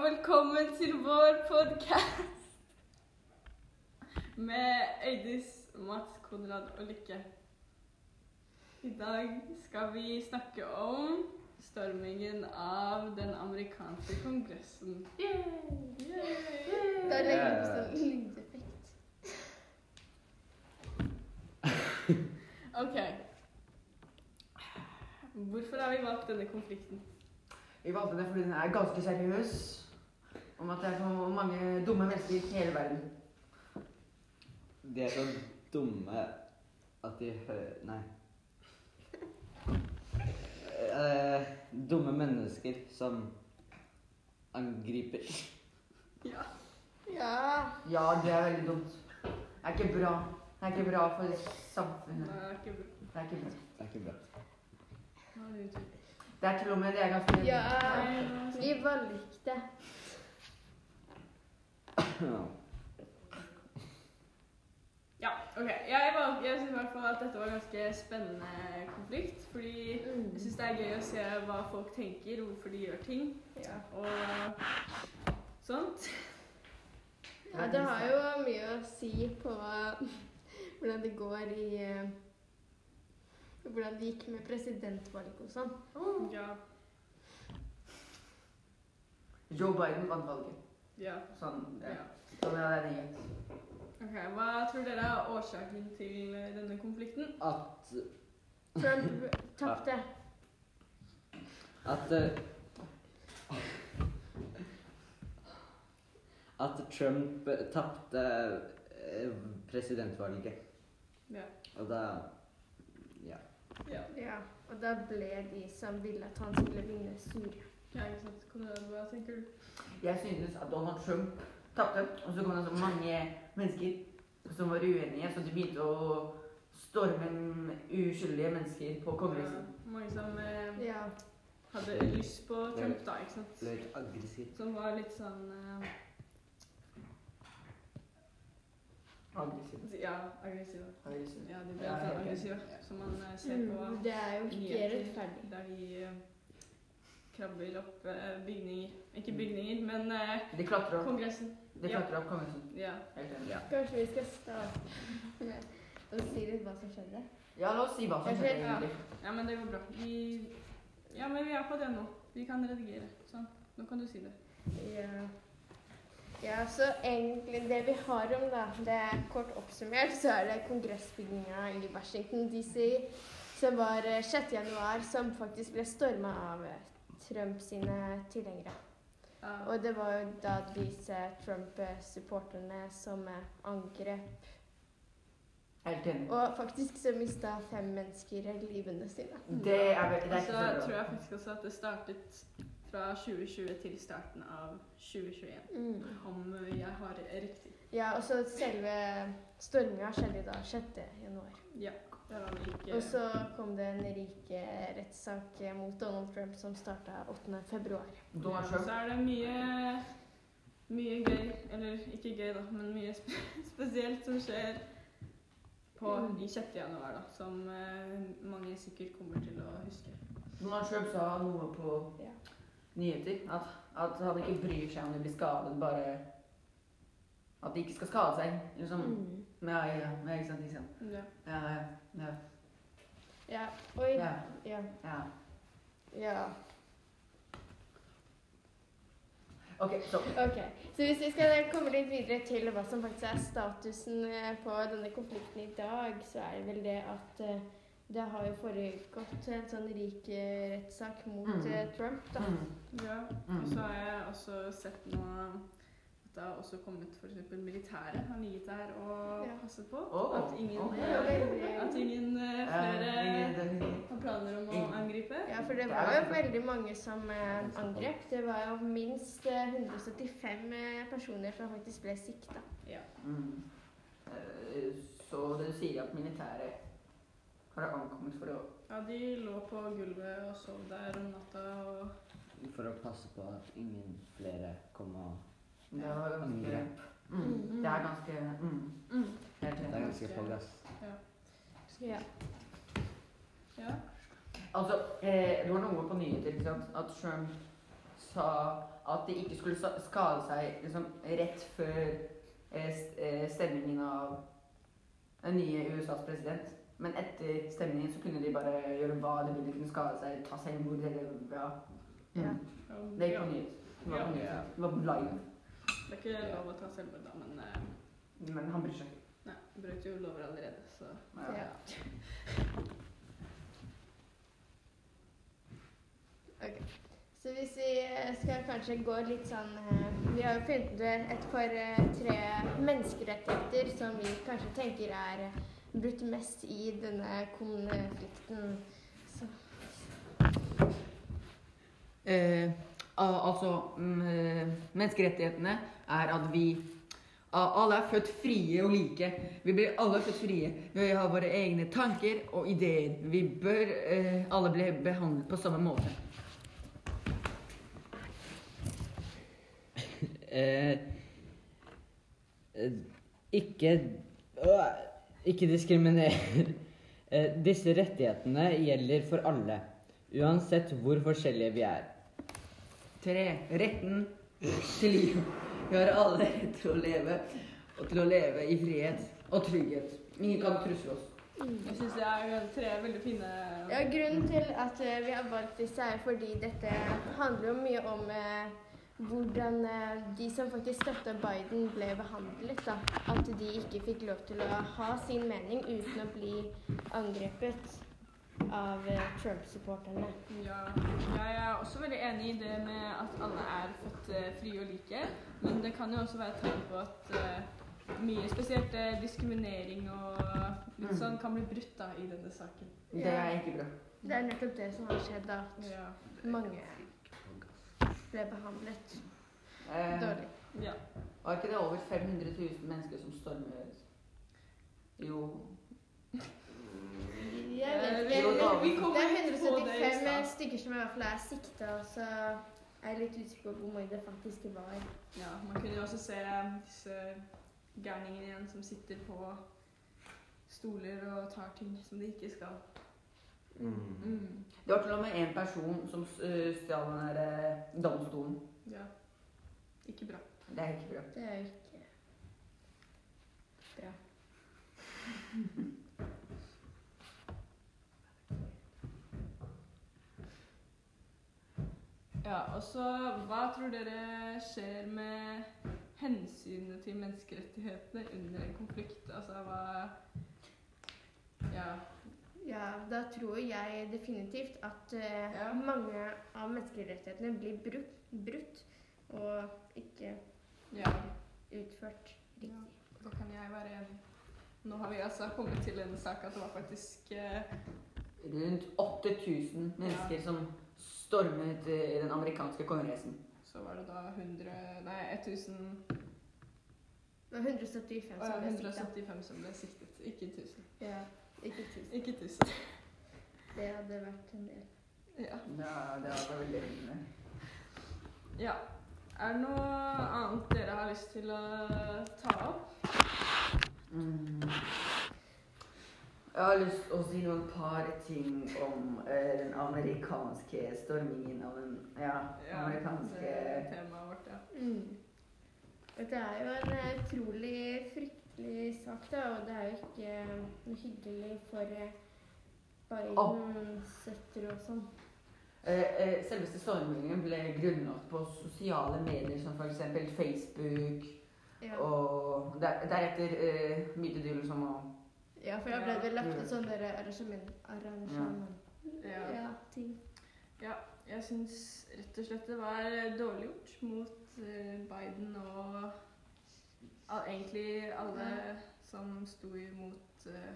velkommen til vår podkast med Øydis, Mats, Konrad og Lykke. I dag skal vi snakke om stormingen av den amerikanske kongressen. Da legger vi på Yeah. sånn lydeffekt. OK. Hvorfor har vi valgt denne konflikten? Vi valgte det fordi den er ganske seriøs. Om at det er så mange dumme mennesker i hele verden. De er så dumme at de hører Nei. Eh, dumme mennesker som angriper. Ja. Ja. Ja, det er veldig dumt. Det er ikke bra. Det er ikke bra for Det samfunnet. er ikke bra. Det er ikke bra. Det er ikke bra. Nå er det utrolig. Det er til og med det er ganske Ja. Nei, nå er det Vi valgte. Ja, ok. Jeg, valg- jeg synes i hvert fall at dette var en ganske spennende konflikt. Fordi jeg syns det er gøy å se hva folk tenker, hvorfor de gjør ting Ja. og sånt. ja, det har jo mye å si på hvordan det går i eh, Hvordan det gikk med presidentvalget og sånn. Ja. Joe Biden vant valget. ja, Sånn, ja. ja. sånn er det nyhet. Ok, Hva tror dere er årsaken til denne konflikten? At Trump tapte. At eh, At Trump tapte eh, presidentvalget. Ja. Og da Ja, Ja. Og da ble de som ville at han skulle vinne, sure. ja ikke sant. Konrad, hva tenker du? Jeg synes at Donald Trump tapte, og så kom det så mange mennesker som var uenige, så de begynte å storme uskyldige mennesker på Kongressen. Ja, Mange som eh, Ja. hadde lyst på Trump, da, ikke sant. ble det aggressivt. Som var litt sånn eh, Aggressiv. Ja, aggressive. Aggressiv. Ja, de ble Ja, litt helt aggressive, som man eh, ser på Mm, Det er jo ikke nyheter, rettferdig. Der de eh, krabber opp eh, bygninger Ikke bygninger, men eh, De klatrer opp, Kongressen. de klatrer opp Kongressen. Ja. Helt enig. Ja. Kanskje vi skal starte med å si litt hva som skjedde? Ja, la oss si hva som skjedde Ja. egentlig. ja, men det går bra. Vi Ja, men vi er på det nå. Vi kan redigere. Sånn. Nå kan du si det. Ja. ja, så egentlig det vi har om, da, det er kort oppsummert, så er det kongressbygninga i Washington DC som var eh, 6. januar, som faktisk ble storma av eh, Trump sine tilhengere. Ja. Og det var jo da disse Trump-supporterne som eh, angrep. Helt enig. Og faktisk så mista fem mennesker livene sine. Det er, ve- det er Og ikke så så tror bra. jeg faktisk også at det startet fra 2020 til starten av 2021. Om eh, jeg har riktig. Ja, og så selve storminga skjedde da 6. januar. Ja. Det var vel ikke Og så kom det en rik eh, rettssak mot Donald Trump som starta 8. februar. Donald Så Trump. er det mye mye gøy, eller ikke gøy da, men mye spe spesielt som skjer på Mm. i 6. januar, da, som eh, mange sikkert kommer til å huske. Donald Trump sa noe på Ja. nyheter. At, at han ikke bryr seg om de blir skadet, bare At de ikke skal skade seg. Liksom. Mm. Ja, ja, ja, ikke sant, ikke sant. Ja. Ja, ja, ja, Ja, oi. ja, Ja. ja. ja. Ok, stopp. Ok, så hvis vi skal komme litt videre til hva som faktisk er statusen eh, på denne konflikten i dag, så er det vel det at eh, det har jo foregått en sånn rik eh, rettssak mot Mm. eh, Trump, da. Mm. ja. Og så Mm. har jeg også sett nå at det har også kommet for eksempel militære har ligget der og Ja. passet på. Åh, at ingen, ok. Det var veldig- at ingen eh, Ja, flere det- det- har planer om å Ingen. angripe. Ja, for det Det er var jo veldig- veldig mange som eh, angrep. Det var jo minst eh, 175 eh, personer som faktisk ble sikta. Ja. Mm. Eh, Så du sier at militæret har ankommet for å ja, de lå på gulvet og sov der om natta og For å passe på at ingen flere kom og Det er ganske mm. Det er ganske mm. mm. Helt Det er enig. ganske få gass. Ja. Ja. Altså, eh, det var noe på nyheter, ikke sant? At Trump sa at de ikke skulle sa- skade seg liksom, rett før eh, s- eh, stemningen av den nye USAs president. Men etter stemningen så kunne de bare gjøre hva de ville, kunne skade seg, ta seg en mord eller hva. Ja. Mm. Det gikk på nyhet. Det var på, Ja. nyhet. Det var på live. Det er ikke lov å ta selvmord, da, men eh, Men han bryr seg ikke. Nei, jeg brøt jo lover allerede, så Ja. Ok. Så hvis vi eh, skal kanskje gå litt sånn eh, Vi har jo funnet ut et par eh, tre menneskerettigheter som vi kanskje tenker er eh, brutt mest i denne konflikten. Så, Eh, al- altså mm, eh, Menneskerettighetene er at vi a- alle er født frie og like. Vi blir alle født frie. Vi har våre egne tanker og ideer. Vi bør eh, alle bli behandlet på samme måte. Eh, eh, ikke øh, Ikke diskriminer. Eh, disse rettighetene gjelder for alle, uansett hvor forskjellige vi er. Tre. Retten til liv. Vi har alle rett til å leve, og til å leve i frihet og trygghet. Ingen kan trusle oss. Jeg syns det er eh, tre veldig fine ja, grunnen til at eh, vi har valgt disse, er fordi dette handler jo mye om eh, hvordan eh, de som faktisk støtta Biden, ble behandlet. da. At de ikke fikk lov til å ha sin mening uten å bli angrepet av eh, Trump-supporterne. Ja, jeg er også veldig enig i det med at alle er født eh, frie og like. Men det kan jo også være tegn på at eh, mye spesielt eh, diskriminering og litt Mm. sånn kan bli brutt da i denne saken. Det er ikke bra. Det er nettopp det som har skjedd, da, at Ja. mange ble behandlet Eh, dårlig. ja. Var ikke det over 500 000 mennesker som stormer Jo. Jeg vet Eh, ikke. vi- jo, da, vi kommer Det er litt på det i 175 stad. eh, stykker som i hvert fall er sikta, så jeg er litt usikker på hvor mange det faktisk var. Ja, man kunne jo også se eh, disse gærningene igjen som sitter på stoler og tar ting som de ikke skal. Mm. Det var til og med en person som eh, stjal den der eh, domstolen. Ja. Ikke bra. Det er ikke bra. Det er jo ikke bra. Ja, og så hva tror dere skjer med hensynet til menneskerettighetene under en konflikt? Altså hva Ja. Ja, da tror jeg definitivt at eh, Ja. mange av menneskerettighetene blir brutt, brutt og ikke ja. utført riktig. Ja. Da kan jeg være enig. Nå har vi altså kommet til en sak at det var faktisk eh, Rundt 8000 mennesker som stormet eh, den amerikanske kongressen. Så var det da 100 Nei, 1000 Det var 175 Å ja, som ble sikta. 175 som ble siktet. Ikke 1000. Ja, ikke 1000. Ikke 1000. Det hadde vært en del. Ja. Ja, det var veldig ille. ja. Er det noe annet dere har lyst til å ta opp? Mm. Jeg har lyst til å si noen par ting om eh, den amerikanske stormingen av den ja, amerikanske det temaet vårt, ja. Mm. Dette er jo en eh, utrolig fryktelig sak, da, og det er jo ikke eh, noe hyggelig for eh, Bidens søtter og sånn. Eh, eh, Selveste stormingen ble grunnlagt på sosiale medier som f.eks. Facebook Ja. og der, deretter eh, begynte du liksom å ja, for da ble det lagt ut Ja. sånne der arrangement, arrangement. Ja. Ja, ting. Jeg syns rett og slett det var dårlig gjort mot eh, Biden og al- egentlig alle som sto imot eh,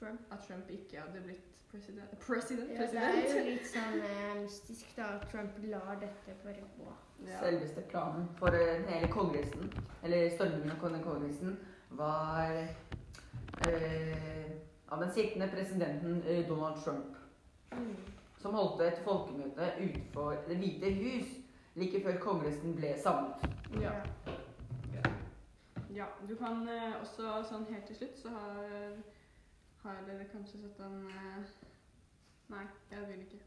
Trump. at Trump ikke hadde blitt president. President? Ja, det er jo president. litt sånn eh, mystisk, da, at Trump lar dette bare gå. Ja. Selveste planen for eh, den hele kongressen, eller stormingen av den kongressen, var eh, av den sittende presidenten eh, Donald Trump, Mm. som holdt et folkemøte utenfor Det hvite hus like før kongressen ble samlet. Ja. ja. Du kan eh, også sånn helt til slutt så har, har dere kanskje sett den eh, Nei, jeg vil ikke.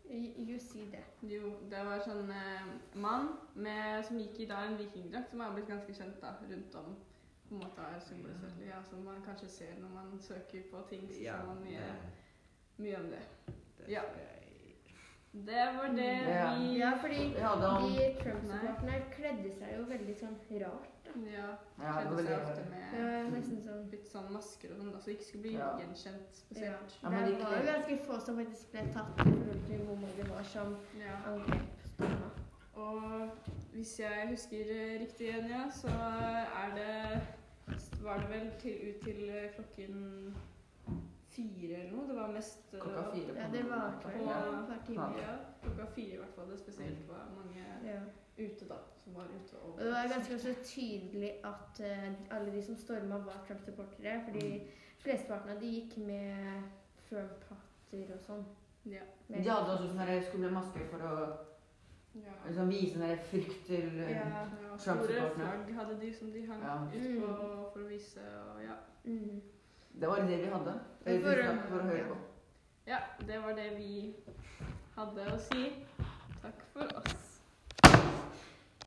Jo, si det. Jo, det var sånn eh, mann med, som gikk i da en vikingdrakt, som har blitt ganske kjent da, rundt om. På en måte er symbolisert. Ja, som man kanskje ser når man søker på ting. Så Ja, ser man mye, det, mye om det. det Ja. tror jeg. Det var det Mm, Ja. vi Ja, fordi Vi hadde han de Trump-supporterne kledde seg jo veldig sånn rart. da. Ja. Ja, det var Kledde seg veldig ofte rart. Det med var nesten sånn litt sånn masker og sånn, da, så ikke skulle bli Ja. gjenkjent ja. spesielt. Ja, men de Det var jo kledde- ganske få som faktisk ble tatt i forhold til hvor mange det var som Ja. angrep Stamma. Og hvis jeg husker eh, riktig, Enja, så er det Var det vel til, ut til eh, klokken fire eller noe? Det var mest eh, klokka fire. på Ja, det var natta. vel Ja. et par timer. Ja, klokka fire i hvert fall. Det spesielt var mange Ja. ute da, som var ute og Og det var ganske også tydelig at eh, alle de som storma, var Trump-supportere. Fordi flesteparten av de gikk med Trump-hatter og sånn. Ja. Men De hadde også sånne der skumle masker for å ja. liksom, vise sånn der frykt til Ja. Ja, og Store Trump-supporterne. flagg hadde de som de hang Ja. ut på for å vise og ja. Mm. Det var det vi hadde. Men for- Tusen takk for å høre på. ja. Det var det vi hadde å si. Takk for oss.